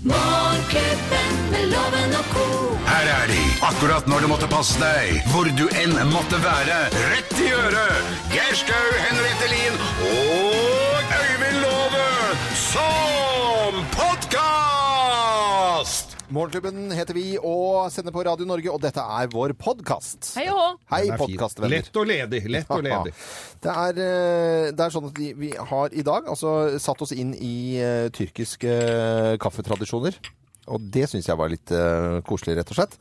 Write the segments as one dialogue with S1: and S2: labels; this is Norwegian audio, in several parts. S1: Morgenklubben med loven og ko.
S2: Her er de, akkurat når du måtte passe deg, hvor du enn måtte være. Rett i øret! Geir Skau, Henriette Lien og Øyvind Låve som podkast!
S3: Morgenklubben heter vi og sender på Radio Norge, og dette er vår podkast.
S4: Hei og hå.
S3: Hei,
S5: Den er fin.
S3: podkastvenner.
S5: Lett og ledig. Lett og ledig.
S3: Det er, eh, det er sånn at vi- vi har i dag altså, satt oss inn i eh, tyrkiske eh, kaffetradisjoner. Og det syns jeg var litt eh, koselig, rett og slett.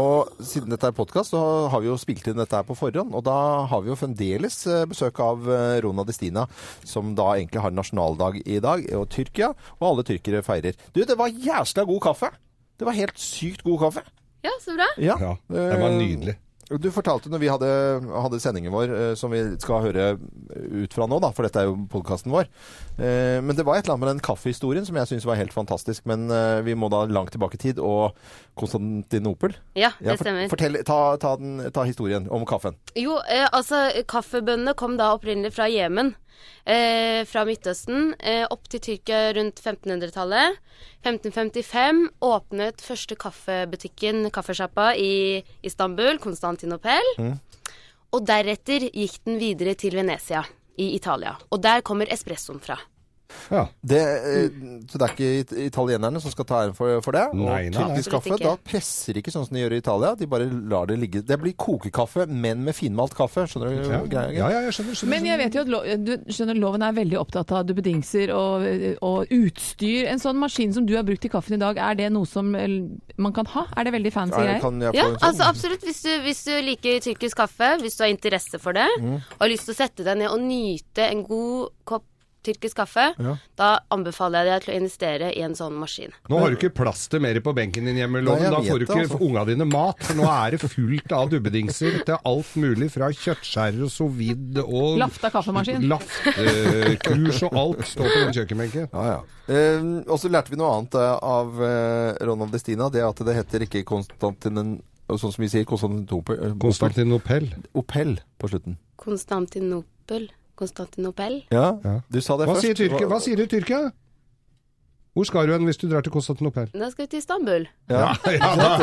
S3: Og siden dette er podkast, så har vi jo spilt inn dette her på forhånd. Og da har vi jo fremdeles eh, besøk av eh, Rona Destina, som da egentlig har nasjonaldag i dag, og Tyrkia. Og alle tyrkere feirer. Du, det var jævla god kaffe! Det var helt sykt god kaffe.
S4: Ja, så bra.
S3: Ja,
S5: Ja, det var
S3: Eh,
S5: nydelig.
S3: Du fortalte når vi hadde, hadde sendingen vår, eh, som vi skal høre ut fra nå, da, for dette er jo podkasten vår. Eh, Men det var et eller annet med den kaffehistorien som jeg syns var helt fantastisk. Men eh, vi må da langt tilbake i tid, og Konstantinopel.
S4: Ja, det
S3: Ja, for-
S4: stemmer.
S3: Fortell, ta, ta, den, ta historien om kaffen.
S4: Jo, eh, altså, kaffebøndene kom da opprinnelig fra Jemen. Eh, fra Midtøsten eh, opp til Tyrkia rundt 1500-tallet. 1555 åpnet første kaffebutikken, kaffesjappa, i Istanbul, Konstantinopel.
S3: Mm.
S4: Og deretter gikk den videre til Venezia i Italia. Og der kommer espressoen fra.
S5: Ja.
S3: Det, eh, så det er ikke it- italienerne som skal ta æren for, for det.
S5: Nei,
S3: og
S5: nei, nei.
S3: tyrkisk kaffe
S4: Absolutt ikke.
S3: da presser ikke sånn som de gjør i Italia. De bare lar det ligge. Det blir kokekaffe, men med finmalt kaffe. Skjønner du
S5: Ja,
S3: greia?
S5: ja, ja, jeg skjønner. skjønner.
S6: Men jeg vet jo at lo du skjønner, loven er veldig opptatt av duppedingser og, og utstyr. En sånn maskin som du har brukt i kaffen i dag, er det noe som eh, man kan ha? Er det veldig fancy
S3: Er-
S6: greier?
S3: Kan jeg få
S4: Ja,
S3: en sånn?
S4: altså absolutt. Hvis du, hvis du liker tyrkisk kaffe, hvis du har interesse for det,
S3: Mm.
S4: og har lyst til å sette deg ned og nyte en god kopp tyrkisk kaffe, da anbefaler jeg deg til å investere i en sånn maskin.
S5: Nå har du ikke plass til mer på benken din hjemme, Loven.
S3: Nei, jeg
S5: Da
S3: vet
S5: får du
S3: det,
S5: ikke
S3: altså.
S5: unga dine mat. For nå er det fullt av dubbedingser til alt mulig, fra kjøttskjærer og sous vide og
S6: Lafta kaffemaskin.
S5: Laftekurs og alt står på den kjøkkenbenken.
S3: Ja, ja. Eh, og så lærte vi noe annet eh, av eh, Ronald Destina. Det er at det heter ikke Konstantinen Sånn som vi sier Konstantinopel eh,
S5: Konstantinopel.
S3: Opel på slutten.
S4: Konstantinopel. Konstantinopel.
S3: Ja,
S5: Ja.
S3: Du sa det
S5: Hva
S3: først.
S5: sier, Tyrkia? Hva sier du i Tyrkia? Hvor skal du hen hvis du drar til Konstantinopel?
S4: Da skal vi til Istanbul.
S3: Ja.
S5: Ja, da.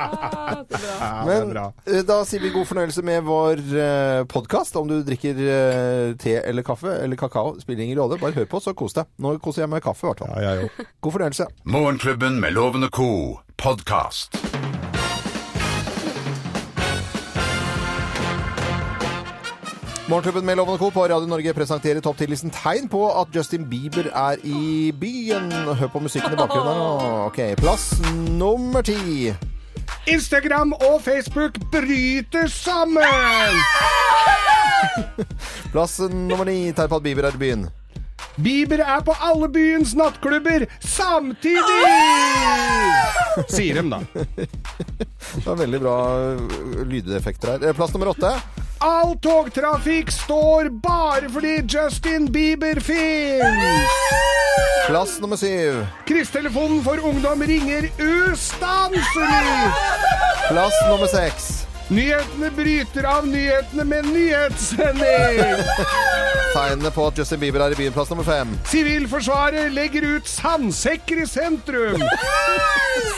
S5: Ja, det er
S3: Men
S5: bra.
S3: eh, da sier vi god fornøyelse med vår eh, podkast. Om du drikker eh, te eller kaffe eller kakao, spiller ingen rolle. Bare hør på, så kos deg. Nå koser jeg meg med kaffe, i hvert fall.
S5: Ja, jeg òg.
S3: God fornøyelse.
S2: Morgenklubben med Loven og co. podkast.
S3: Morgenklubben med Loven og Co. på Radio Norge presenterer topptillitsen tegn på at Justin Bieber er i byen. Hør på musikken i bakgrunnen. her nå. Ok, Plass nummer ti.
S5: Instagram og Facebook bryter sammen!
S3: Plass nummer ni. Tegn på at Bieber er i byen.
S5: Bieber er på alle byens nattklubber
S3: Ah!
S5: samtidig! Sier dem, da.
S3: Det var veldig bra ø, lydeffekter her. Eh, Plass nummer åtte.
S5: All togtrafikk står bare fordi Justin Bieber fins!
S3: Plass nummer syv.
S5: Kristetelefonen for ungdom ringer ustanselig!
S3: Plass nummer seks.
S5: Nyhetene bryter av nyhetene med nyhetssending!
S3: Tegnene på at Justin Bieber er i byen. Plass nummer fem.
S5: Sivilforsvaret legger ut sandsekker i sentrum!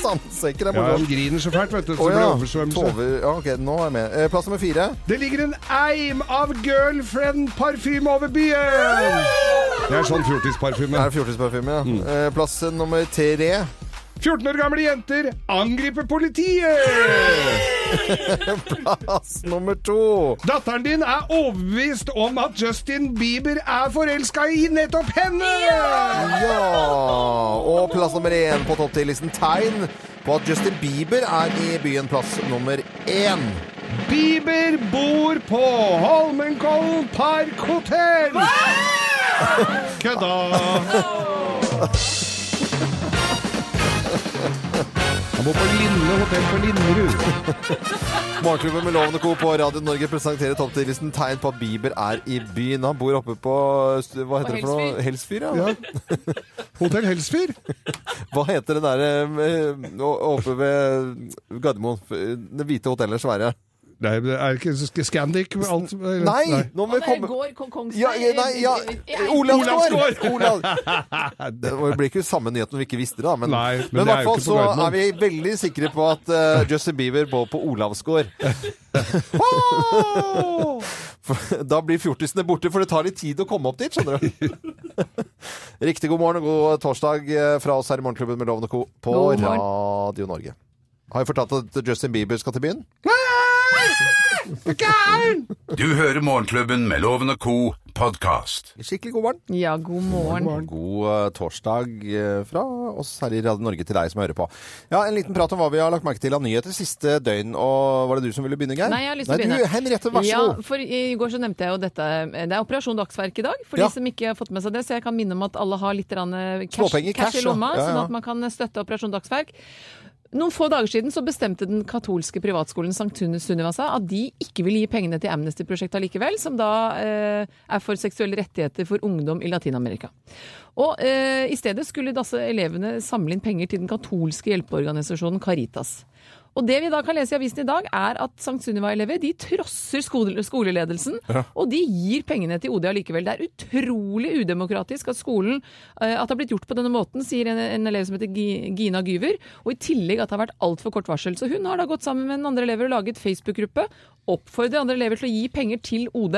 S3: Sandsekker er
S5: Ja, han
S3: morsomt.
S5: griner så fælt, vet du. Så
S3: Å
S5: det
S3: ja.
S5: blir oversvømmelse.
S3: Tove- ja, ok, nå er jeg med. Eh, Plass nummer fire.
S5: Det ligger en eim av girlfriend-parfyme over byen! Det er sånn fjortisparfyme.
S3: Er det fjortisparfyme? Ja.
S5: Mm.
S3: Eh, Plass nummer tre.
S5: 14 år gamle jenter angriper politiet!
S3: Plass nummer to.
S5: Datteren din er overbevist om at Justin Bieber er forelska i nettopp henne!
S3: Ja! Og plass nummer én på topp 10-listen tegn på at Justin Bieber er i byen plass nummer én.
S5: Bieber bor på Holmenkollen Park Hotell! Kødda! Han bor på Linne hotell på Linderud.
S3: Morgenklubben med Lovende Co. på Radio Norge presenterer topp 10-listen tegn på at Bieber er i byen. Han bor oppe på st- Hva heter det for noe? Helsfyr, ja.
S5: Hotell Helsfyr?
S3: Hva heter eh, det der eh, med- å- oppe ved Gardermoen? Det hvite eh, hotellet svære.
S5: Nei, men er det ikke Sk- Scandic med alt? eller?
S3: Nei! Nå må vi komme
S6: Går Kong Kongs
S3: ja, ja, nei, ja. Olavsgård! Olav. Det blir ikke samme nyheten om vi ikke visste det, da. Men,
S5: Nei, men
S3: men i
S5: det
S3: hvert
S5: er jo
S3: fall
S5: ikke på
S3: så
S5: Gardermoen.
S3: er vi veldig sikre på at eh, Justin Bieber bor på Olavsgård. Wow! For da blir fjortisene borte, for det tar litt tid å komme opp dit, skjønner du. Riktig god morgen og god torsdag eh, fra oss her i Morgenklubben med Loven og Co. på
S6: God morgen.
S3: Radio Norge. Har jeg fortalt at Justin Bieber skal til byen?
S2: Du hører Morgenklubben med Loven og Co. podkast.
S3: Skikkelig god morgen.
S6: Ja, god morgen.
S3: God eh, torsdag eh, fra oss her i Radio Norge til deg som hører på. Ja, En liten prat om hva vi har lagt merke til av nyheter siste døgn. og Var det du som ville begynne, Geir?
S6: Nei, jeg har lyst til å
S3: Nei,
S6: begynne.
S3: Du, Henriette, vær så
S6: ja,
S3: god.
S6: for I går så nevnte jeg jo dette. Det er Operasjon Dagsverk i dag, for
S3: Ja.
S6: de som ikke har fått med seg det. Så jeg kan minne om at alle har litt grann, eh, cash,
S3: Småpenger,
S6: cash,
S3: cash,
S6: i lomma,
S3: ja. Ja, ja.
S6: sånn at man kan støtte Operasjon Dagsverk. Noen få dager siden så bestemte den katolske privatskolen Sankt Sunniva seg at de ikke vil gi pengene til Amnesty-prosjektet allikevel, som da eh, er for seksuelle rettigheter for ungdom i Latin-Amerika. Og eh, I stedet skulle disse elevene samle inn penger til den katolske hjelpeorganisasjonen Caritas. Og Det vi da kan lese i avisen i dag, er at Sankt Sunniva-elever de trosser skole skoleledelsen. Og de gir pengene til OD allikevel. Det er utrolig udemokratisk at skolen eh, at det har blitt gjort på denne måten, sier en, en elev som heter Gi- Gina Gyver. Og i tillegg at det har vært altfor kort varsel. Så hun har da gått sammen med noen andre elever og laget Facebook-gruppe. Oppfordre andre elever til å gi penger til OD.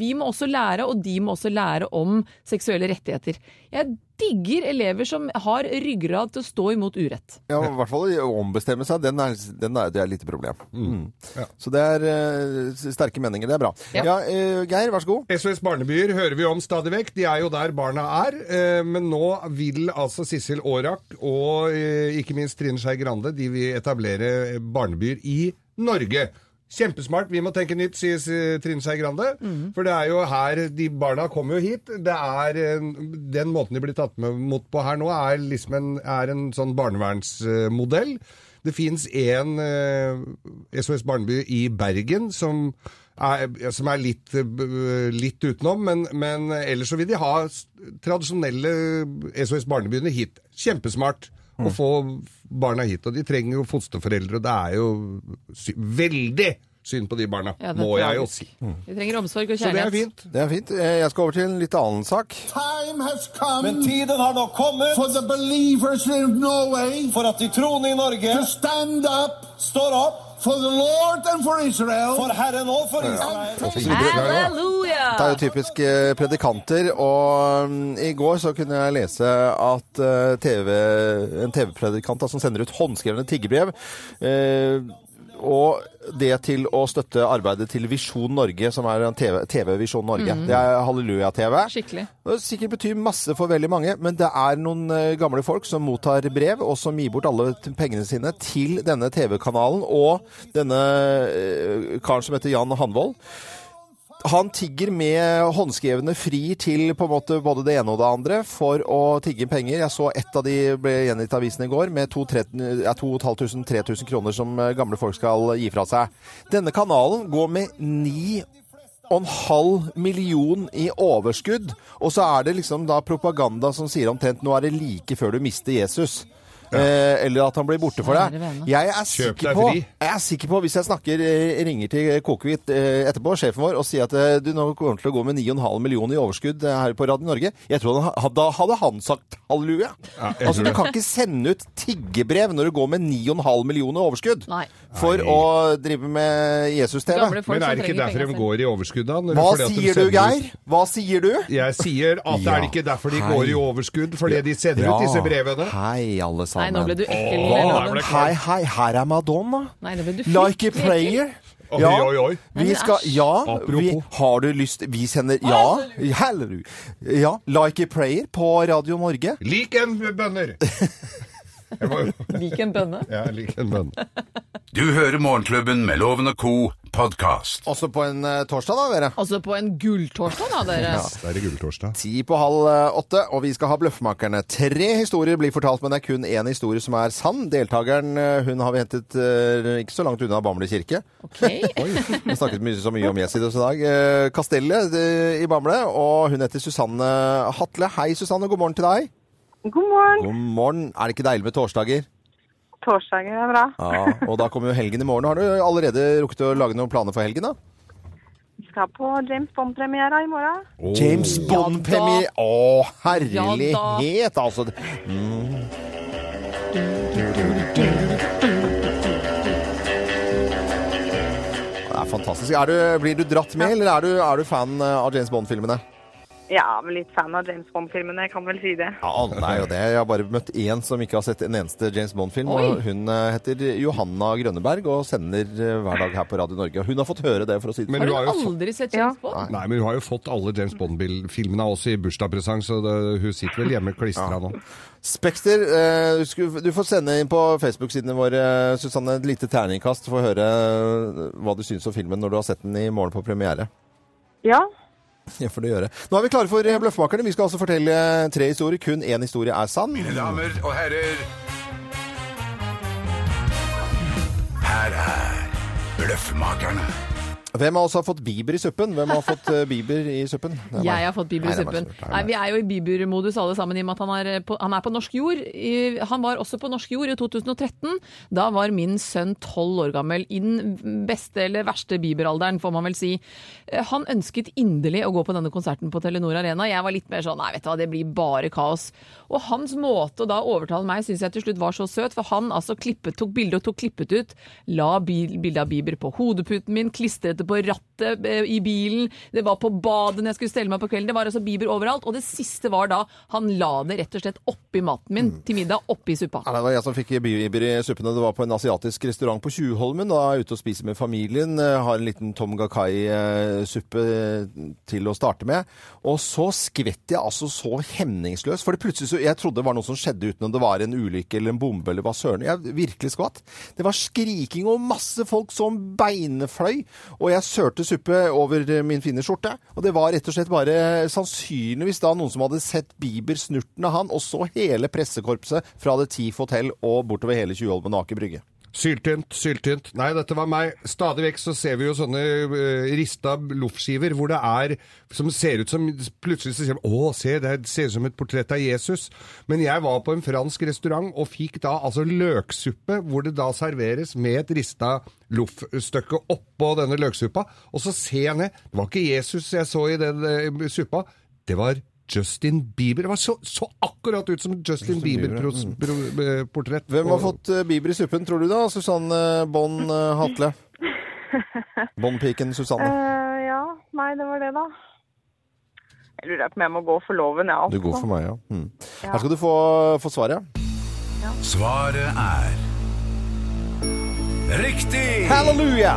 S6: Vi må også lære, og de må også lære om seksuelle rettigheter. Jeg digger elever som har ryggrad til å stå imot urett.
S3: Ja, I hvert fall å ombestemme seg. Den er, den er, det er et lite problem. Mm. Så det er eh, sterke meninger. Det er bra.
S6: Ja.
S3: Ja, eh, Geir, vær så god.
S5: SOS Barnebyer hører vi om stadig vekk. De er jo der barna er. Eh, Men nå vil altså Sissel Aarak og eh, ikke minst Trine Skei Grande de vil etablere barnebyer i Norge. Kjempesmart. Vi må tenke nytt, sier eh, Trine Skei Grande.
S3: Mhm.
S5: For det er jo her De barna kommer jo hit. Det er eh, Den måten de blir tatt med mot på her nå, er liksom en, er en sånn barnevernsmodell. Det fins en eh, SOS Barneby i Bergen som er, som er litt, eh, b- b- litt utenom, men, men ellers så vil de ha s- tradisjonelle SOS Barnebyene hit. Kjempesmart
S3: Mm.
S5: å få barna hit. Og de trenger jo fosterforeldre, og det er jo sy veldig synd på de barna,
S6: Ja, det er
S5: må jeg jo
S6: tragisk.
S5: si.
S6: Vi trenger omsorg og
S5: Så det
S6: kjærlighet.
S5: er fint.
S3: Det er fint. Eh, Jeg skal over til en litt annen sak.
S7: time has come Men tiden har nå kommet for the believers in Norway for at de troende i Norge to stand up står opp for the Lord and for Israel for Herren og for Israel
S3: Så videre. Det er jo typisk eh, predikanter, og mm, i går så kunne jeg lese at eh, TV, en TV-predikant da, som sender ut håndskrevne tiggerbrev, eh, og det til å støtte arbeidet til Visjon Norge, som er en TV TV-Visjon Norge. Det er Halleluja-TV.
S6: Skikkelig.
S3: Det sikkert betyr masse for veldig mange, men det er noen eh, gamle folk som mottar brev, og som gir bort alle t- pengene sine til denne TV-kanalen og denne eh, karen som heter Jan Hanvold. Han tigger med håndskrevne fri til på en måte både det ene og det andre for å tigge penger. Jeg så ett av de ble gjengitt i avisen i går med 2500-3000 kroner som eh, gamle folk skal gi fra seg. Denne kanalen går med 9,5 million i overskudd, og så er det liksom da propaganda som sier omtrent nå er det like før du mister Jesus. Eh, eller at han blir borte for
S6: Kjære
S3: deg.
S6: vene.
S3: Jeg er
S5: Kjøp
S3: sikker
S5: deg
S3: på
S5: fri.
S3: jeg er sikker på, hvis jeg snakker, eh, ringer til Kokehvit eh, etterpå, sjefen vår, og sier at eh, du nå kommer til å gå med 9,5 millioner i overskudd eh, her på Radio Norge, jeg tror han, ha- da hadde han sagt halleluja.
S5: Ja, jeg
S3: altså,
S5: tror
S3: du
S5: det.
S3: kan ikke sende ut tiggebrev når du går med 9,5 millioner i overskudd
S6: Nei.
S3: for å drive med Jesus-TV.
S6: Gamle folk
S5: Men
S6: som
S5: er det ikke
S6: trenger
S5: derfor de
S6: pengene
S5: går i overskudd, da? når-
S3: Hva
S5: fordi at de
S3: sier
S5: sender
S3: du,
S5: ut-
S3: Geir? Hva sier du?
S5: Jeg sier at det er ikke derfor de går i overskudd, fordi de sender ut disse brevene.
S3: Hei, alle
S6: Nei,
S3: sammen.
S6: nå ble du ekkel.
S5: Åh,
S6: Loven.
S5: der ble det
S3: Hei, hei, her er Madonna.
S6: Nei, nå ble du
S3: Like a
S6: fryktelig
S3: prayer.
S5: Oi, oi, oi.
S6: Nei,
S3: Vi
S6: men
S3: skal,
S6: æsj.
S3: ja, vi,
S5: Apropos.
S3: har du lyst Vi sender ja, halleluja. ja, Like a prayer på Radio Norge.
S5: Lik en bønner! Jeg må jo
S6: ekkel. Lik en bønne.
S5: Ja, lik en bønner.
S2: Du hører Morgenklubben med Loven og Co. podkast.
S3: Også på en eh, torsdag, da, dere.
S6: Altså på en gulltorsdag, da, dere.
S5: Da er det gulltorsdag.
S3: Ti på halv eh, åtte, og vi skal ha Bløffmakerne. Tre historier blir fortalt, men det er kun én historie som er sann. Deltakeren eh, hun har vi hentet eh, ikke så langt unna Bamble kirke.
S6: Ok.
S3: Vi har snakket mye, så mye om Jesus i dag. Eh, Kastellet eh, i Bamble, og hun heter Susanne Hatle. Hei, Susanne. God morgen til deg.
S8: God morgen.
S3: God morgen. Er det ikke deilig med torsdager?
S8: Torsdager er bra.
S3: Ja, og da kommer jo helgen i morgen. Har du allerede rukket å lage noen planer for helgen, da?
S8: Skal på James Bond-premiera i morgen.
S3: James Bond-premiere. Å,
S6: Ja
S3: herlighet, altså. Det er fantastisk. Er du, blir du dratt med, eller er du, er du fan av James Bond-filmene?
S8: Ja, men litt fan av James Bond-filmene, jeg kan vel si det.
S3: Ja, alle er jo det. Jeg har bare møtt én som ikke har sett en eneste James Bond-film. Og hun eh, heter Johanna Grønneberg og sender eh, hver dag her på Radio Norge. Og hun har fått høre det, for å si det
S5: Men
S3: sånn.
S5: du
S6: Har
S5: har jo
S6: du
S5: fått
S6: aldri sett
S8: Ja.
S6: James Bond?
S5: Nei, men hun har jo fått alle James Bond-filmene av oss i bursdagspresang, så det, hun sitter vel hjemme klistra nå.
S3: Spekter, eh, du skulle- du får sende inn på Facebook-sidene våre, Susanne, et lite terningkast for å høre eh, hva du syns om filmen når du har sett den i morgen på premiere.
S8: Ja,
S3: Ja, får du gjøre. Nå er vi klare for eh, Bløffmakerne. Vi skal altså fortelle tre historier. Kun én historie er sann.
S2: Mine damer og herrer, her er Bløffmakerne.
S3: Hvem av oss har fått biber i suppen? Hvem har fått eh, biber i suppen? Det er meg.
S6: Jeg har fått Bieber i
S3: Nei, det er meg
S6: suppen.
S3: som har gjort det.
S6: Nei, Vi er jo i Bieber-modus alle sammen i og med at han er eh, på, han er på norsk jord. I- Han var også på norsk jord i 2013. Da var min sønn tolv år gammel. I den beste eller verste Bieber-alderen, får man vel si. Eh, Han ønsket inderlig å gå på denne konserten på Telenor Arena. Jeg var litt mer sånn nei, vet du hva, det blir bare kaos. Og hans måte å da overtale meg syns jeg til slutt var så søt, for han altså klippet, tok bilde og tok klippet ut. La bil- bilde av Bieber på hodeputen min, klistret det på rattet eh, i bilen, det var på badet når jeg skulle stelle meg på kvelden. Det var altså Bieber overalt. Og det siste var da han la det rett og slett oppi maten min til middag, oppi suppa.
S3: Ja, det var jeg som fikk biber i suppene. Det var på en asiatisk restaurant på Tjuvholmen. Da er jeg ute og spiser med familien. eh, Har en liten Tom Gakai-suppe til å starte med. Og så skvetter jeg altså så hemningsløst. For det plutselig så Jeg trodde det var noe som skjedde uten om det var en ulykke eller en bombe eller hva søren. Jeg virkelig skvatt. Det var skriking og masse folk som beinefløy. Og jeg sørte suppe over eh, min fine skjorte. Og det var rett og slett bare sannsynligvis da noen som hadde sett Bieber snurten av han, og så hele pressekorpset fra The Teef Hotel og bortover hele Tjuvholmen og Aker Brygge.
S5: Syltynt, syltynt. Nei, dette var meg. Stadig vekk så ser vi jo sånne eh, rista loffskiver hvor det er Som ser ut som Plutselig så sier de Å, se, det ser ut som et portrett av Jesus. Men jeg var på en fransk restaurant og fikk da altså løksuppe hvor det da serveres med et rista loffstykke oppå denne løksuppa. Og så ser jeg ned. Det var ikke Jesus jeg så i den eh, suppa. Det var Justin Bieber. Det var så, så akkurat ut som Justin, eh, Bieber-portrett.
S3: Mm. Hvem har fått eh, Bieber i suppen, tror du da, Susanne Bonn eh, Hatle? Bonnpiken Susanne.
S8: Eh, ja. Nei, det var det, da. Jeg lurer på om jeg må gå for loven, jeg. altså.
S3: Du er god for meg, ja. Mm. Her skal du få, få svaret.
S2: Svaret er Riktig!
S3: Halleluja!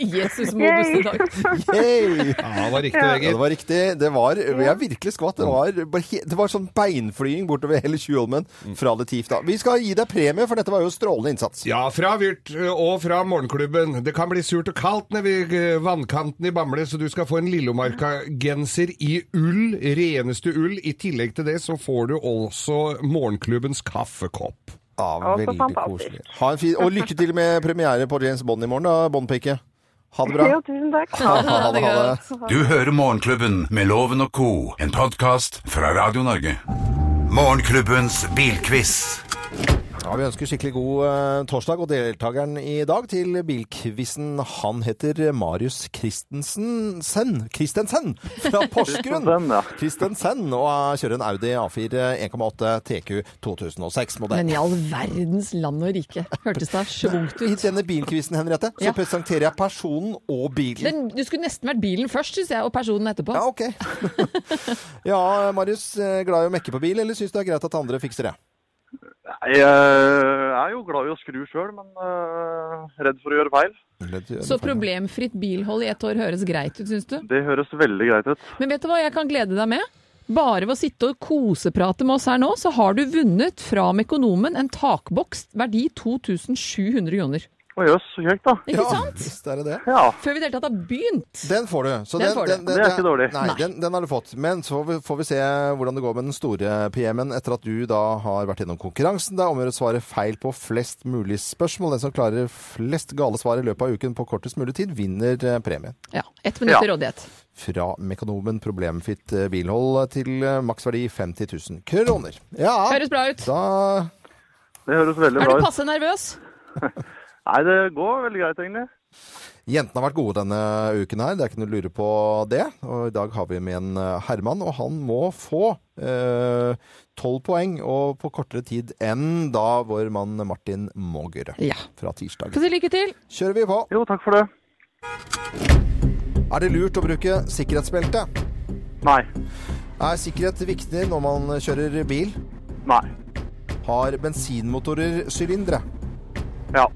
S6: Jesus-modus i dag.
S3: Hey!
S5: Ja, det var riktig,
S3: Ja,
S5: Egil.
S3: det var riktig. Det var, jeg virkelig skvatt. Det var, bare he- det var sånn beinflying bortover hele Tjuvholmen fra det TIF da. Vi skal gi deg premie, for dette var jo strålende innsats.
S5: Ja, fra Vyrt og fra Morgenklubben. Det kan bli surt og kaldt nede ved eh, vannkanten i Bamble, så du skal få en Lillomarka-genser i ull, reneste ull. I tillegg til det så får du også Morgenklubbens kaffekopp.
S3: Ja,
S8: Å, så
S3: veldig
S8: fantastisk.
S3: koselig. Ha en fin, og lykke til med premiere på James Bond i morgen, da, Bondpike. Ha det bra.
S8: Jo, tusen takk.
S3: Ha, ha, ha, det, ha det.
S2: Du hører Morgenklubben med Loven og Co. En podkast fra Radio Norge. Morgenklubbens bilquiz.
S3: Ja, vi ønsker skikkelig god eh, torsdag, og deltakeren i dag til bilquizen, han heter Marius Christensen Sen, Christensen fra Porsgrunn.
S9: Christensen, ja.
S3: Christensen, og eh, kjører en Audi A4 1,8 TQ 2006-modell.
S6: Men i all verdens land og rike hørtes da svungt
S3: I
S6: ut.
S3: denne bilquizen, Henriette, så
S6: Ja.
S3: presenterer jeg personen og bilen.
S6: Den, du skulle nesten vært bilen først, syns jeg, og personen etterpå.
S3: Ja, ok. ja, Marius, eh, glad i å mekke på bil, eller syns du det er greit at andre fikser det?
S9: Nei, Jeg er jo glad i å skru sjøl, men eh, redd for å gjøre feil.
S6: Så problemfritt bilhold i ett år høres greit ut, syns du?
S9: Det høres veldig greit ut.
S6: Men vet du hva jeg kan glede deg med? Bare ved å sitte og koseprate med oss her nå, så har du vunnet fra Mekonomen en takboks verdi 2700 kroner.
S9: Å jøs, så kjekt da.
S6: Ikke sant?
S3: Visst er det det.
S9: Ja,
S6: Før vi i det hele tatt har begynt.
S3: Den får du. Så
S6: Den får du.
S9: Det er ikke dårlig.
S3: Nei, Den, den har du fått. Men så vi- får vi se hvordan det går med den store PM-en etter at du da har vært gjennom konkurransen. Det er om å gjøre å svare feil på flest mulig spørsmål. Den som klarer flest gale svar i løpet av uken på kortest mulig tid, vinner eh, premien.
S6: Ja, Ett minutt til
S9: Ja.
S6: rådighet.
S3: Fra Mekonomen problemfritt eh, bilhold til eh, maksverdi 50 000 kroner. Ja,
S6: Høres bra ut.
S3: da
S9: Det høres veldig
S6: Er
S9: bra
S6: du
S9: ut.
S6: passe nervøs?
S9: Nei, det går veldig greit, egentlig.
S3: Jentene har vært gode denne uken her, det er ikke noe å lure på det. Og i dag har vi med en eh, Herman, og han må få eh, tolv poeng, og på kortere tid enn da vår mann Martin Mågerø
S6: Ja.
S3: fra tirsdag.
S6: Få si lykke til.
S3: Kjører vi på.
S9: Jo, takk for det.
S3: Er det lurt å bruke sikkerhetsbelte?
S9: Nei.
S3: Er sikkerhet viktig når man kjører bil?
S9: Nei.
S3: Har bensinmotorer sylindere?
S9: Ja.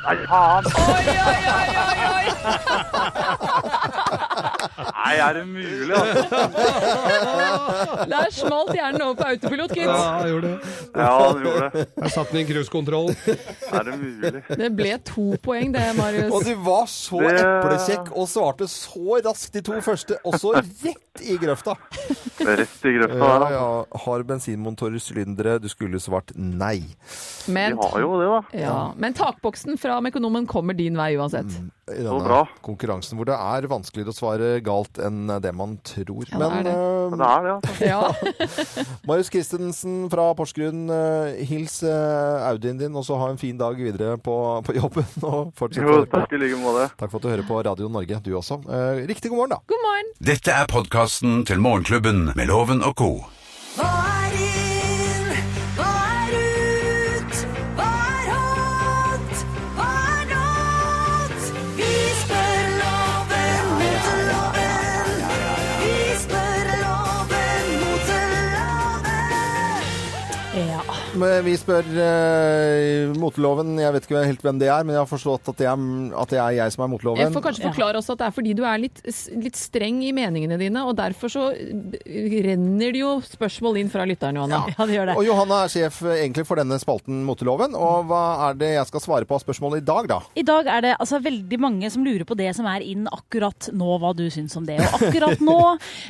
S9: Nei, faen!
S6: Oi, oi, oi, oi, oi.
S9: Nei, er det mulig, altså?
S6: Der smalt hjernen over på autopilot,
S5: Ja,
S6: gitt.
S5: jeg gjorde det.
S9: Ja, han gjorde det.
S5: Jeg satte den i cruisekontroll.
S9: Er det mulig?
S6: Det ble to poeng, det,
S3: Og
S6: Marius.
S3: du var så
S9: Det-
S3: eplekjekk og svarte så raskt de to første, og så rett i grøfta.
S9: Rett i grøfta der,
S3: Ja,
S9: altså.
S3: ja. Har bensinmotorer sylindere? Du skulle svart nei.
S9: Vi
S6: Men,
S9: har jo det, da.
S6: ja. Men takboksen fra Mekonomen kommer din vei uansett.
S3: I denne
S9: bra.
S3: konkurransen hvor det er vanskeligere å svare galt enn det man tror.
S6: Ja, det er
S3: Men
S9: Men det er det, altså.
S6: Ja.
S3: eh, Marius Christensen fra Porsgrunn, eh, hils eh, Audien din, og så ha en fin dag videre på, på jobben. Og fortsett å
S9: Jo,
S3: høre på.
S9: takk i like måte.
S3: Takk for at du hører på Radio Norge, du også. Eh, Riktig god morgen, da.
S6: God morgen.
S2: Dette er podkasten til Morgenklubben med Loven og co.
S1: Hva er inn? Hva er ut? Hva er hot? Hva er not? Vi spør loven mot loven. Vi spør loven mot loven.
S6: Ja.
S3: Men vi spør eh, moteloven. Jeg vet ikke helt hvem det er, men jeg har forstått at det er, at det er jeg som er moteloven.
S6: Jeg får kanskje forklare også at det er fordi du er litt, litt streng i meningene dine, og derfor så eh, renner det jo spørsmål inn fra lytteren, Johanna.
S3: Ja, Og Johanna er sjef eh, egentlig for denne spalten Moteloven. Og hva er det jeg skal svare på av spørsmålet i dag, da?
S10: I dag er det altså veldig mange som lurer på det som er inn akkurat nå, hva du syns om det. Og akkurat nå,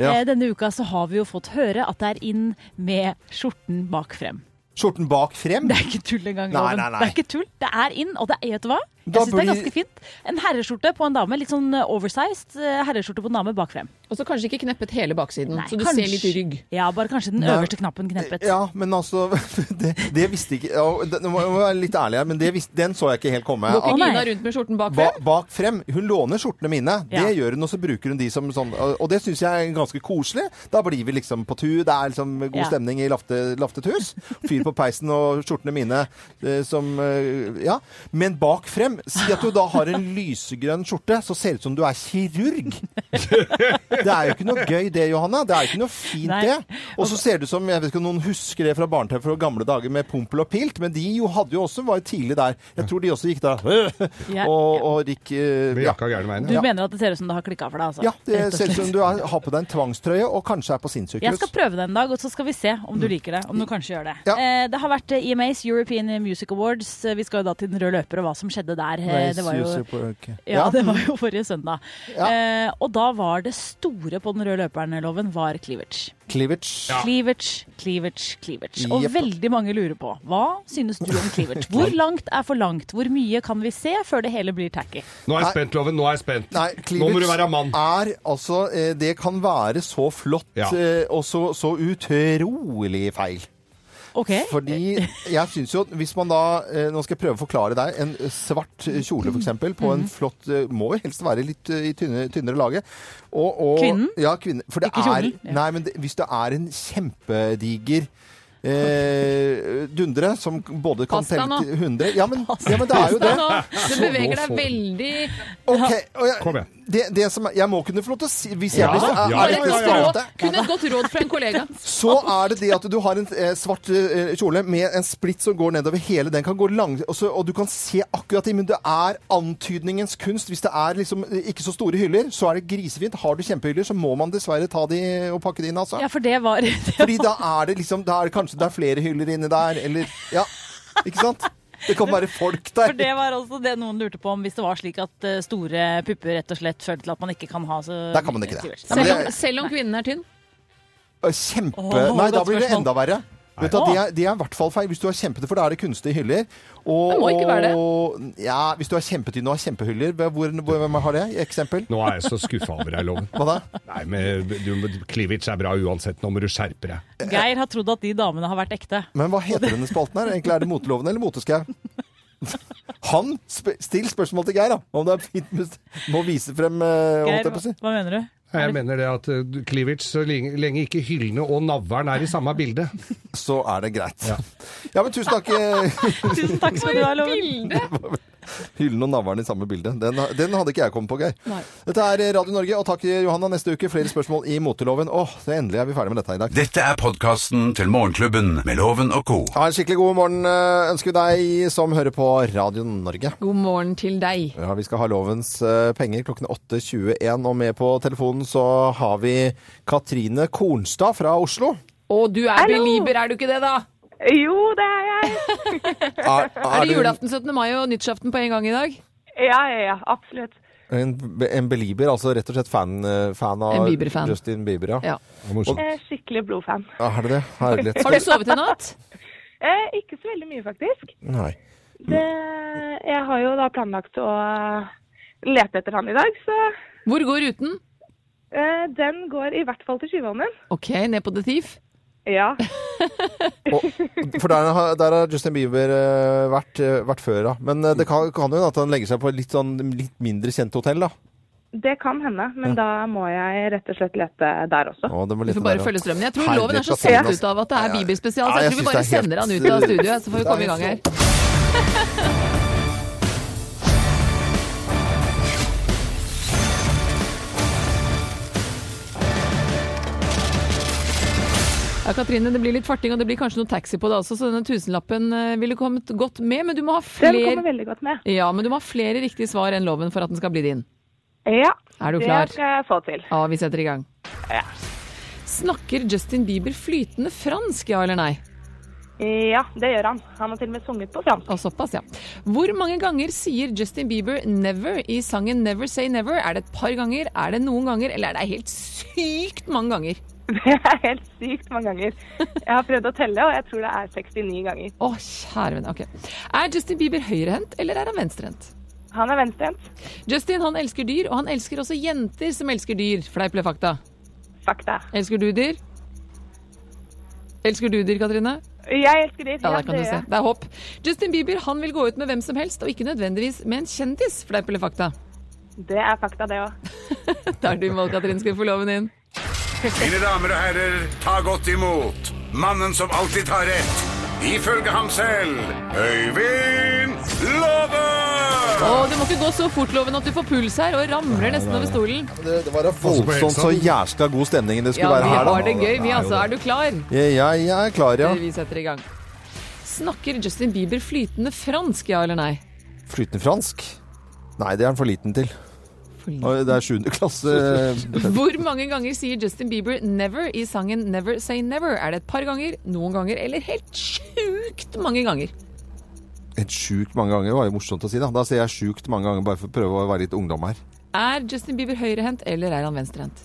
S3: Ja.
S10: eh, denne uka, så har vi jo fått høre at det er inn med skjorten bak frem.
S3: Skjorten bak frem?
S10: Det er ikke tull engang,
S3: Nei,
S10: Loven.
S3: nei, nei.
S10: Det er ikke tull. Det er inn, og det er, vet du hva? Jeg
S3: Da
S10: syns det er
S3: blir-
S10: ganske fint. En herreskjorte på en dame, litt sånn eh, oversized eh, herreskjorte på en dame bak frem.
S6: Og så kanskje ikke kneppet hele baksiden,
S10: Nei,
S6: så du
S10: kanskje-
S6: ser litt rygg.
S10: Ja, bare kanskje den
S3: Nei.
S10: øverste knappen kneppet.
S3: Ja, men altså Det, det visste ikke ja, og det- Nå må jeg være litt ærlig her, men det visste, den så jeg ikke helt komme.
S6: Går
S3: At
S6: ikke
S10: nei.
S6: Gina rundt med skjorten bak
S3: ba,
S6: frem?
S3: bak frem. Hun låner skjortene mine.
S10: Ja.
S3: Det gjør hun, og så bruker hun de som sånn Og og det syns jeg er ganske koselig. Da blir vi liksom på tur. Det er liksom god
S10: Ja.
S3: stemning i lafte, Laftet hus. Fyr på peisen og skjortene mine eh, som eh, Ja. Men bak frem Si at du da har en lysegrønn skjorte, så ser det ut som du er kirurg. Det er jo ikke noe gøy det, Johanna. Det er jo ikke noe fint
S10: Nei.
S3: det. Og så ser det ut som, jeg vet ikke om noen husker det fra barne-TV fra gamle dager med pompel og pilt, men de jo hadde jo også, var jo tidlig der. Jeg tror de også gikk da øh,
S10: Ja.
S3: og, og gikk eh,
S5: Med
S3: ja.
S5: jakka gærne veien.
S10: Du
S5: ja.
S10: mener at det ser ut som det har klikka for deg, altså?
S3: ja, det
S10: Rett og
S3: ser ut
S10: slett.
S3: som du har har på deg en tvangstrøye og kanskje er på
S10: Jeg skal
S3: sinnssykehus.
S10: prøve det en dag, og så skal vi se om du liker det. Om du kanskje gjør det.
S3: Mm. Ja.
S10: Eh, det har vært eh, EMAs European Music Awards. Eh, Vi skal jo da til den røde løper og hva som skjedde der. Eh, Det var jo, ja, det var jo forrige søndag.
S3: Ja.
S10: Eh, og da var det store på den røde løperen-loven var cleavage.
S3: Cleavage.
S10: Cleavage, cleavage, cleavage. Og
S3: Jepp.
S10: veldig mange lurer på hva synes du om cleavage? Hvor langt er for langt? Hvor mye kan vi se før det hele blir tacky?
S5: Nå er jeg spent, Loven. Nå er jeg spent.
S3: Nei,
S5: Nå må du være mann.
S3: er altså eh, Det kan være så flott
S5: Ja.
S3: eh, og så, så utrolig feil.
S10: OK?
S3: Fordi jeg syns jo at hvis man da eh, Nå skal jeg prøve å forklare deg. En eh, svart kjole, f.eks., på
S10: Mm.
S3: en flott eh, Må jo helst være litt eh, i tynne, tynnere laget. Og, og,
S10: Kvinnen?
S3: Ja, kvinnen. For det
S10: Ikke
S3: er
S10: kjolen, ja.
S3: Nei, men det, hvis det er en kjempediger Eh, dundre som både kan
S6: Pass deg
S3: telle
S6: nå.
S3: til 100 ja men, ja, men det er jo det.
S6: Nei, nå, du beveger deg veldig
S3: Ok, og jeg,
S5: Kom igjen.
S3: Det, det som er, jeg må kunne få lov til å si Hvis jeg
S5: Ja,
S3: blir
S5: ja,
S3: er,
S5: ja,
S3: er,
S6: Bare
S3: det
S6: et godt
S5: ja, ja,
S6: råd.
S3: desperate,
S6: Kunne et godt råd fra en kollega.
S3: Så er det det at du har en eh, svart eh, kjole med en splitt som går nedover hele. Den kan gå lang, og, så, og du kan se akkurat i, men det er antydningens kunst. Hvis det er liksom eh, ikke så store hyller, så er det grisefint. Har du kjempehyller, så må man dessverre ta de og pakke de inn, altså.
S10: Ja, for det var
S3: Fordi da er det liksom da er det Kanskje det er flere hyller inni der, eller Ja. Ikke sant? Det kan være folk der.
S10: For det var også det noen lurte på om hvis det var slik at eh, store pupper rett og slett førte til at man ikke kan ha så
S3: Der kan man ikke det.
S10: Sivert.
S3: Nei, men
S6: Selv om,
S3: det-
S6: selv om kvinnen er tynn.
S3: Kjempe...
S10: Åh,
S3: Nei, da
S10: godt
S3: blir det
S10: spørsmål.
S3: enda verre. Vet du, hva, det, er, det er i hvert fall feil. Hvis du har kjempetynne, for da er det kunstige hyller. Og,
S6: Det må ikke være det.
S3: og- Ja, hvis du har kjempetynne og har kjempehyller, hvor, hvor, hvem har det? Eksempel?
S5: Nå er jeg så skuffa over deg, Loven.
S3: Hva da?
S5: Nei, men du- Klivic er bra uansett. Nå må du skjerpe deg.
S10: Geir har trodd at de damene har vært ekte.
S3: Men hva heter denne spalten her? Egentlig er det Moteloven eller Moteskau? Han sp Still spørsmål til Geir, da. Om det er fint med Må vise frem eh, holdt
S10: Geir,
S3: jeg på å si.
S10: hva hva mener du?
S5: Nei, Jeg mener det at eh, Klivic, så lenge, lenge ikke hyllene og navlen er i samme bilde
S3: Så er det greit. Ja, men tusen takk. eh,
S10: Tusen takk skal du ha, Loven.
S6: Bilde!
S3: Hyllen og navlen i samme bilde. Den, den hadde ikke jeg kommet på, Geir. Dette er eh, Radio Norge, og takk Johanna. Neste uke flere spørsmål i moteloven. Åh, så endelig er vi ferdig med dette i dag.
S2: Dette er podkasten til Morgenklubben med Loven og co.
S3: Ha en skikkelig god morgen eh, ønsker vi deg som hører på Radio Norge.
S6: God morgen til deg.
S3: Ja, Vi skal ha lovens eh, penger klokken 8.21, og med på telefonen så har vi Katrine Kornstad fra Oslo.
S6: Og du er belieber, er du ikke det, da?
S8: Jo, det er jeg.
S3: Er,
S6: Er det
S3: du
S6: julaften, 17. mai og nyttårsaften på en gang i dag?
S8: Ja, ja, ja, absolutt.
S3: En, en belieber, altså rett og slett fan, eh, fan av
S6: En Bieber-fan.
S3: Justin Bieber? Ja.
S6: Ja.
S5: Morsomt.
S8: Jeg er skikkelig blodfan.
S3: Er det det? Herlig.
S6: Har du sovet i natt?
S8: Eh, ikke så veldig mye, faktisk.
S3: Nei.
S8: Det, jeg har jo da planlagt å eh, lete etter han i dag, så
S6: Hvor går ruten?
S8: eh, den går i hvert fall til Tjuvholmen.
S6: OK, ned på The Thief.
S8: Ja.
S3: Og, for der, har- der har Justin Bieber eh, vært, eh, vært før, da. Men eh, det kan, kan jo hende at han legger seg på et litt, sånn, litt mindre kjent hotell, da.
S8: Det kan hende, men da må jeg rett og slett lete der også.
S3: Å, det må
S6: Du
S3: lete
S6: får bare
S3: der, ja.
S6: følge strømmen. Jeg tror
S3: Herlig,
S6: loven er så
S3: Katrine,
S6: satt
S3: altså.
S6: ut av at det er Bibelspesial, så
S3: Nei,
S6: jeg
S3: jeg
S6: tror vi
S3: synes
S6: bare
S3: det er
S6: sender han
S3: helt-
S6: ut av studioet, så får vi komme i gang her. Ja, Katrine, det blir litt farting, og det blir kanskje noe taxi på det også, så denne tusenlappen eh, ville kommet godt med, men du må ha
S8: Den kommer
S6: flere,
S8: veldig godt med.
S6: ja, men du må ha flere riktige svar enn loven for at den skal bli din.
S8: Ja,
S6: Er du
S8: det
S6: klar?
S8: skal jeg få til.
S6: Ja, vi setter i gang. Snakker Justin Bieber flytende fransk, ja eller nei?
S8: Ja, det gjør han. Han har til og med sunget på fransk.
S6: Å, såpass, ja. Hvor mange ganger sier Justin Bieber 'never' i sangen 'Never Say Never'? Er det et par ganger, er det noen ganger, eller er det helt sykt mange ganger?
S8: Det er helt sykt mange ganger. Jeg har prøvd å telle, og jeg tror det er 69 ganger.
S6: Å, kjære venn. Ok. Er Justin Bieber høyrehendt, eller er han venstrehendt?
S8: Han er venstrehendt.
S6: Justin han elsker dyr, og han elsker også jenter som elsker dyr. Fleip eller fakta?
S8: Fakta.
S6: Elsker du dyr? Elsker du dyr, Katrine?
S8: Jeg elsker dyr.
S6: Ja, der kan du
S8: det
S6: se.
S8: gjør jeg.
S6: Det er håp. Justin Bieber han vil gå ut med hvem som helst, og ikke nødvendigvis med en kjendis. Fleip eller fakta?
S8: Det er fakta, det òg.
S6: Der du må, Katrin, skal få loven inn.
S2: Mine damer og herrer, ta godt imot mannen som alltid tar rett, ifølge ham selv, Øyvind Låve!
S6: Og du må ikke gå så fort, loven, at du får puls her og ramler nesten over stolen.
S3: Det, det var da voldsomt så jæskla god stemning det
S6: Ja,
S3: skulle være
S6: vi
S3: her, da.
S6: har det gøy, vi altså. Er du klar?
S3: Ja, ja, jeg er klar, ja.
S6: Vi setter i gang. Snakker Justin Bieber flytende fransk, ja eller nei?
S3: Flytende fransk? Nei, det er han for liten til.
S6: Flytende.
S3: Og Det er 7. klasse.
S6: Hvor mange ganger sier Justin Bieber 'never' i sangen 'Never Say Never'? Er det et par ganger, noen ganger eller helt sjukt mange ganger?
S3: Et sjukt mange ganger var jo morsomt å si, da. Da sier jeg sjukt mange ganger bare for å prøve å være litt ungdom her.
S6: Er Justin Bieber høyrehendt, eller er han venstrehendt?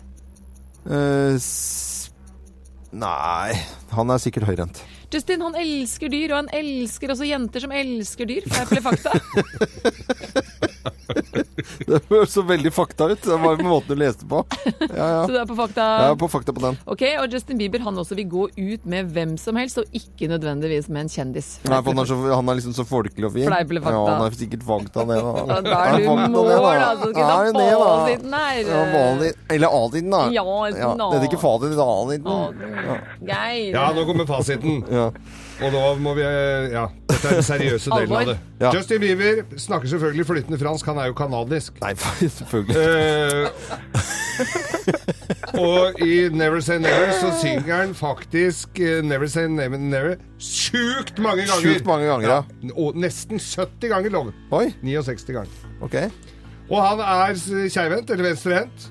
S3: Eh, s Nei, han er sikkert høyrehendt.
S6: Justin han elsker dyr, og han elsker også jenter som elsker dyr. Fleip eller fakta?
S3: Det høres så veldig fakta ut. Det var jo måten du leste på.
S6: Så du er på fakta?
S3: Jeg er på fakta på den.
S6: Ok, og Justin Bieber han også vil gå ut med hvem som helst, og ikke nødvendigvis med en kjendis.
S3: Nei, for han, er så, han er liksom så folkelig og fin.
S6: Fleip eller fakta?
S3: Ja, han er sikkert fakta ned, da.
S6: Ja, Da er du
S3: fakta
S6: mål,
S3: ned, da.
S6: altså. Skal
S3: Er
S6: ta
S3: det ned, da?
S6: fasiten
S3: Ja,
S6: her.
S3: vanlig. Eller A-tiden, da.
S6: Ja, en A.
S3: Det er ikke fader, det er A-tiden.
S6: Geir.
S5: Ja, nå kommer fasiten.
S3: Ja.
S5: Og nå må vi eh, Ja, dette er den seriøse delen av det.
S3: Ja.
S5: Justin Bieber snakker selvfølgelig flytende fransk. Han er jo kanadisk.
S3: Nei, selvfølgelig.
S5: Eh, og i Never Say Never så synger han faktisk eh, Never Say Never Never sjukt mange ganger.
S3: Sjukt mange ganger, ja.
S5: Og nesten 70 ganger, lov.
S3: Oi,
S5: 69 ganger.
S3: ok.
S5: Og han er s- keivhendt, eller venstrehendt.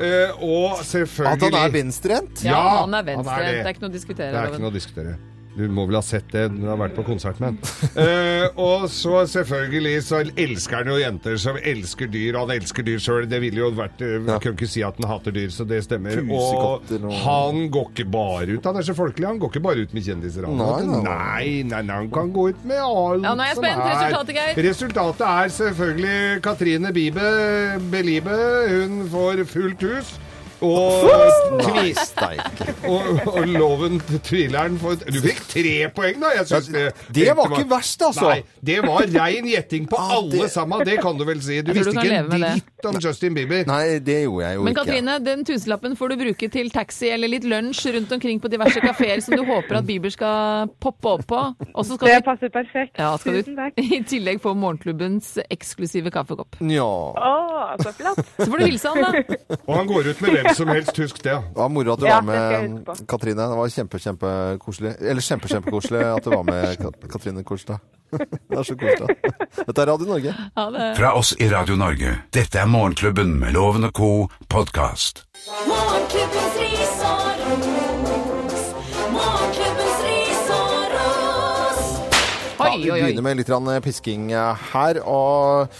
S5: Eh, og
S3: At
S5: selvfølgelig
S3: han er venstrehendt?
S6: Ja,
S5: Ja,
S6: han er
S5: han er
S6: venstrehendt.
S5: det.
S6: Det er ikke noe å
S5: Det
S6: diskutere.
S5: er ikke
S6: Loven.
S5: noe å diskutere. Du må vel ha sett det, du har vært på konsert med han. Eh, og så selvfølgelig så elsker han jo jenter som elsker dyr, og han elsker dyr sjøl. Det ville jo vært eh, Vi kan ikke si at han hater dyr, så det stemmer. Og
S3: Pusekatter og-
S5: han går ikke bare ut. Han er så folkelig, han går ikke bare ut med kjendiser. Han.
S3: Nei, nei, nei.
S5: nei, nei, nei, han kan gå ut med alt
S6: Ja, nå er jeg
S5: som
S6: spent. Resultatet, Geir.
S5: Resultatet er selvfølgelig Katrine Bibe Belibe. Hun får fullt hus. Og
S3: Nei,
S5: kvis
S3: steike.
S5: og, og loven til tvileren for Du fikk tre poeng, da! Jeg synes det,
S3: det var ikke verst, altså.
S5: Nei, det var rein gjetting på
S3: Ah,
S5: alle
S3: det-
S5: sammen, det kan du vel si. Du
S6: Jeg tror
S5: visste
S6: du kan
S5: ikke
S6: leve
S5: en
S6: med det.
S5: dritt om Justin Bieber.
S3: Nei, det gjorde jeg jo
S6: Men
S3: ikke.
S6: Katrine, den tusenlappen får du bruke til taxi eller litt lunsj rundt omkring på diverse kafeer som du håper at Bieber skal poppe opp på. Og så
S8: Det
S6: skal du,
S8: passer perfekt.
S6: ja, skal
S8: Tusen takk.
S6: du i tillegg få morgenklubbens eksklusive kaffekopp.
S3: Ja.
S8: Å, så flott.
S6: Så får du hilse han, da.
S5: Og han går ut med hvem som helst, husk det.
S3: Det var moro at du
S8: Ja,
S3: var
S8: det skal jeg
S3: med,
S8: huske på.
S3: Katrine. Det var kjempe, kjempekoselig. Eller kjempe, kjempekoselig at du var med, Kat- Katrine Kolstad. Det er så koselig. Dette er Radio Norge.
S6: Ha det.
S2: Fra oss i Radio Norge. Dette er Morgenklubben med Loven og co. podkast.
S1: Morgenklubbens ris og ros. Morgenklubbens ris og ros.
S6: Oi,
S3: Vi
S6: oi, oi.
S3: begynner med litt grann eh, pisking her. og...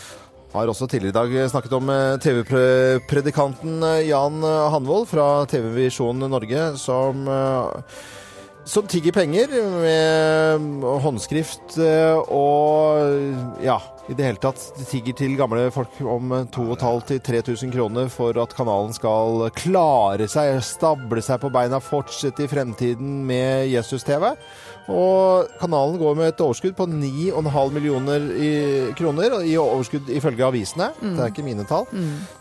S3: Har også tidligere i dag snakket om eh, TV-predikanten Jan eh, Hanvold fra TV Visjon Norge, som, eh, som tigger penger med håndskrift eh, og ja, i det hele tatt tigger til gamle folk om 2500-3000 kroner for at kanalen skal klare seg, stable seg på beina, fortsette i fremtiden med Jesus-TV. Og kanalen går med et overskudd på 9,5 millioner i kroner i overskudd ifølge avisene. Det er ikke mine tall.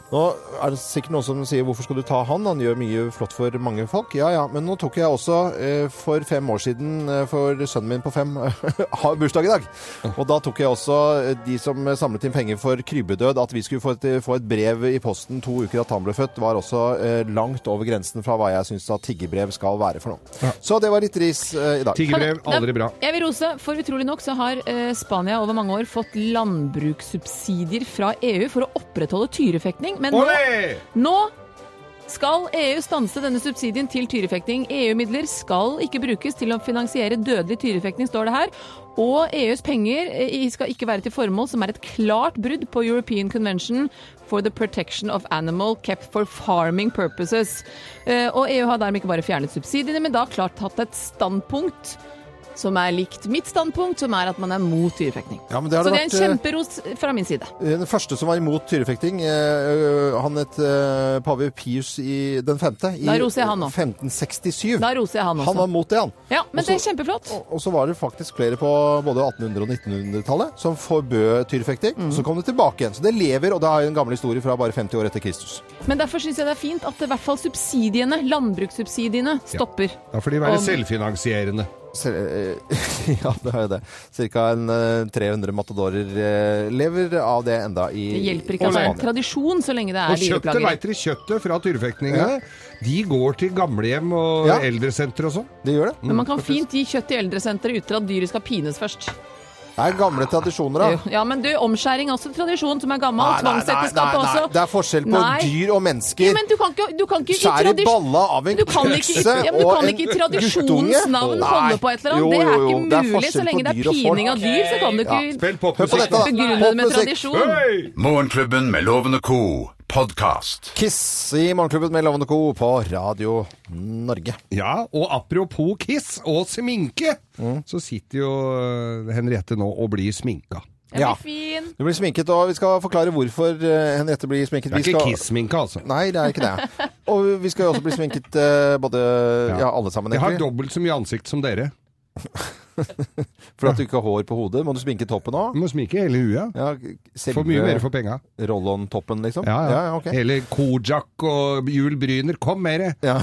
S3: Nå er det sikkert noen som sier 'hvorfor skal du ta han', han gjør mye flott for mange folk. Ja ja, men nå tok jeg også eh, for fem år siden, eh, for sønnen min på fem har bursdag i dag. Og da tok jeg også eh, de som samlet inn penger for krybbedød, at vi skulle få et, få et brev i posten to uker at han ble født, var også eh, langt over grensen fra hva jeg syns at tiggerbrev skal være for noe. Så det var litt ris eh, i dag.
S5: Tiggerbrev,
S6: Kan-
S5: aldri bra.
S6: Jeg vil rose, for utrolig nok så har eh, Spania over mange år fått landbrukssubsidier fra EU for å opprettholde tyrefekting, men nå
S5: Olé!
S6: Nå skal EU stanse denne subsidien til tyrefekting. EU-midler skal ikke brukes til å finansiere dødelig tyrefekting, står det her. Og EUs penger eh, skal ikke være til formål som er et klart brudd på European Convention for the protection of animal kept for farming purposes. Eh, Og EU har dermed ikke bare fjernet subsidiene, men da klart tatt et standpunkt som er likt mitt standpunkt, som er at man er mot tyrefekting.
S3: Ja, men det har
S6: Så
S3: det
S6: det er en
S3: vært, eh,
S6: kjemperos fra min side.
S3: Den første som var imot tyrefekting, eh, ø, han het eh, pave Pius i den femte. I
S6: Da roser jeg han nå.
S3: 1567.
S6: Da roser jeg han også.
S3: Han var mot det, han.
S6: Ja, men det er
S3: Også-
S6: kjempeflott.
S3: Og- Og så var det faktisk flere på både 1800- og 1900-tallet som forbød tyrefekting.
S6: Mhm.
S3: Så kom det tilbake igjen. Så det lever, og det er jo en gammel historie fra bare 50 år etter Kristus.
S6: Men derfor syns jeg det er fint at i hvert fall subsidiene, landbrukssubsidiene, stopper.
S5: Da får de være
S6: Om-
S5: selvfinansierende.
S3: Så, eh, ja, det er jo det. Cirka en eh, 300 matadorer eh, lever av det enda i
S6: Det hjelper ikke
S3: i
S6: at det er en
S3: Spania.
S6: tradisjon så lenge det
S5: Og
S6: er
S5: kjøttet,
S6: dyreplager.
S5: veit dere, kjøttet fra tyrefektingene, de går til gamlehjem og
S3: Ja.
S5: eldresenter og sånn.
S3: Det gjør det.
S6: Men man kan fint gi kjøtt i eldresenteret uten at dyret skal pines først.
S3: Det er gamle tradisjoner, da.
S6: Ja, men du, omskjæring er også en tradisjon som er gammel.
S3: Nei, nei,
S6: Tvangsekteskap
S3: nei, nei, nei.
S6: også.
S3: Det er forskjell på
S6: Nei.
S3: dyr
S6: Ja,
S3: og mennesker.
S6: men du kan ikke, du kan ikke i
S3: Skjære
S6: tradis-
S3: balla av en
S6: Du kan ikke,
S3: kuse
S6: ja, men du
S3: og
S6: kan
S3: en
S6: ikke i
S3: guttunge.
S6: tradisjonens navn holde på et eller
S3: Jo,
S6: annet. Det
S3: jo,
S6: er
S3: jo.
S6: ikke
S3: Det er
S6: mulig. Så
S3: forskjell
S6: lenge
S3: på
S6: det
S3: dyr
S6: er
S3: og
S6: pining
S3: folk.
S6: av dyr, så kan du
S3: Ja,
S6: ikke
S5: Spill
S3: Hør på
S5: popmusikk.
S3: dette, da.
S6: begrunne det med
S3: Popmusikk.
S6: tradisjon.
S5: Hei!
S2: Morgenklubben med Loven og co. podkast.
S3: Kiss i Morgenklubben med Lovende Co. på Radio Norge.
S5: Ja, og apropos kiss og sminke,
S3: Mm.
S5: så sitter jo eh, Henriette nå og blir sminka.
S6: Jeg
S3: Ja.
S6: blir fin.
S3: Du blir sminket, og vi skal forklare hvorfor eh, Henriette blir sminket.
S5: Det er
S3: Vi
S5: ikke
S3: skal-
S5: kiss-sminke, altså.
S3: Nei, det er ikke det. Og vi skal jo også bli sminket eh, både Ja, alle sammen,
S5: Jeg har
S3: egentlig.
S5: dobbelt så mye ansikt som dere.
S3: For at du ikke har hår på hodet. Må du sminke toppen òg?
S5: Du må sminke hele huet.
S3: Ja,
S5: Mm. Får mye mer
S3: selve
S5: for penga.
S3: roll-on-toppen, liksom?
S5: Ja, ja.
S3: ok.
S5: Hele Kojak og Jul Bryner. Kom mere!
S3: Ja.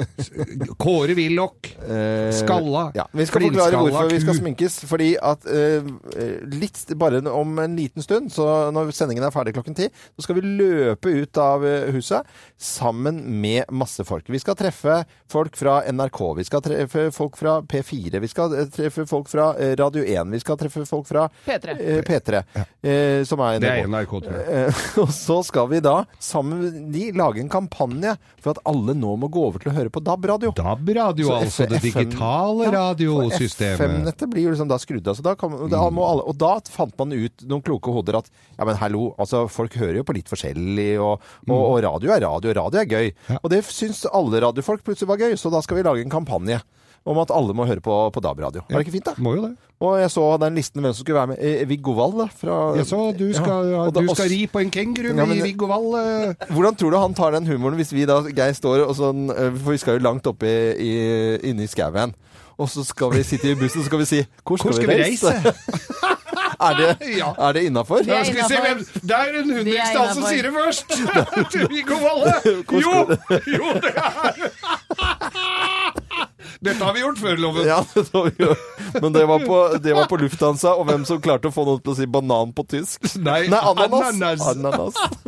S5: Kåre Willoch.
S3: Eh,
S5: Skalla.
S3: Ja. Vi skal forklare
S5: Blindskalla
S3: hvorfor vi skal
S5: ku.
S3: sminkes. Fordi at eh, eh, litt, bare om en liten stund, så når sendingen er ferdig klokken ti, så skal vi løpe ut av eh, huset sammen med masse folk. Vi skal treffe folk fra NRK, vi skal treffe folk fra P4, vi skal eh, treffe folk fra eh, Radio 1. Vi skal treffe folk fra
S6: P3.
S3: eh, P3 eh, som er
S5: Det er
S3: NRK.
S5: NRK, tror jeg.
S3: Eh, Og så skal vi da sammen med de lage en kampanje for at alle nå må gå over til å høre på DAB-radio.
S5: DAB-radio,
S3: Så
S5: altså. Det
S3: FM
S5: digitale radiosystemet.
S3: FM-nettet blir jo liksom da skrudd av. Så da kan, da må alle, og da fant man ut, noen kloke hoder, at ja, men hallo, altså folk hører jo på litt forskjellig, og, og, og
S5: Mm.
S3: radio er radio, og radio er gøy. Og det syns alle radiofolk plutselig var gøy, så da skal vi lage en kampanje. Om at alle må høre på, på DAB-radio. Var det ikke fint, da?
S5: Må jo det.
S3: Og jeg så den listen med hvem som skulle være med. Eh, Viggo Wall, da. Fra,
S5: Jeg så du skal,
S3: Ja, og da-
S5: du
S3: og-
S5: skal ri på en kenguru
S3: Ja, men-
S5: i Viggo Wall. eh.
S3: Hvordan tror du han tar den humoren hvis vi da, Geir, står og sånn eh, For vi skal jo langt oppe i, i, inne i skauen. Og så skal vi sitte i bussen og så skal vi si Hvor skal,
S5: Hvor skal vi reise?
S3: er det,
S5: Ja.
S3: er det innafor?
S6: Det er
S5: Skal vi se hvem Det er en Henrikstad som
S6: innenfor.
S5: sier det først! Viggo Valle! Jo! Jo, det er Dette har vi gjort før, Loven.
S3: Ja, det var jo. Men det var, på, det var på Lufthansa, og hvem som klarte å få noen til å si banan på tysk?
S5: Nei,
S3: ananas.
S5: ananas.
S3: ananas.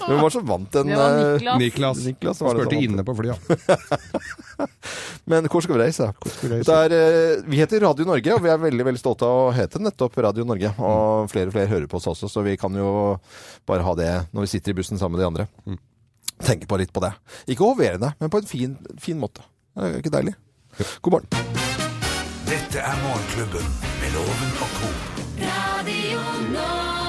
S3: Hvem var det som vant den?
S6: Det var Niklas.
S3: eh,
S5: Niklas.
S3: Niklas var det
S5: spurte
S3: som
S5: inne på flyet.
S3: Men hvor skal vi reise?
S5: vi reise?
S3: Det er, eh, vi heter Radio Norge, og vi er veldig veldig stolte av å hete nettopp Radio Norge. Og flere og flere hører på oss også, så vi kan jo bare ha det når vi sitter i bussen sammen med de andre. Tenke på litt på det. Ikke hoverende, men på en fin, fin måte. Er det ikke deilig? God morgen.
S2: Dette er Morgenklubben med Loven og co.
S1: Radio Norge.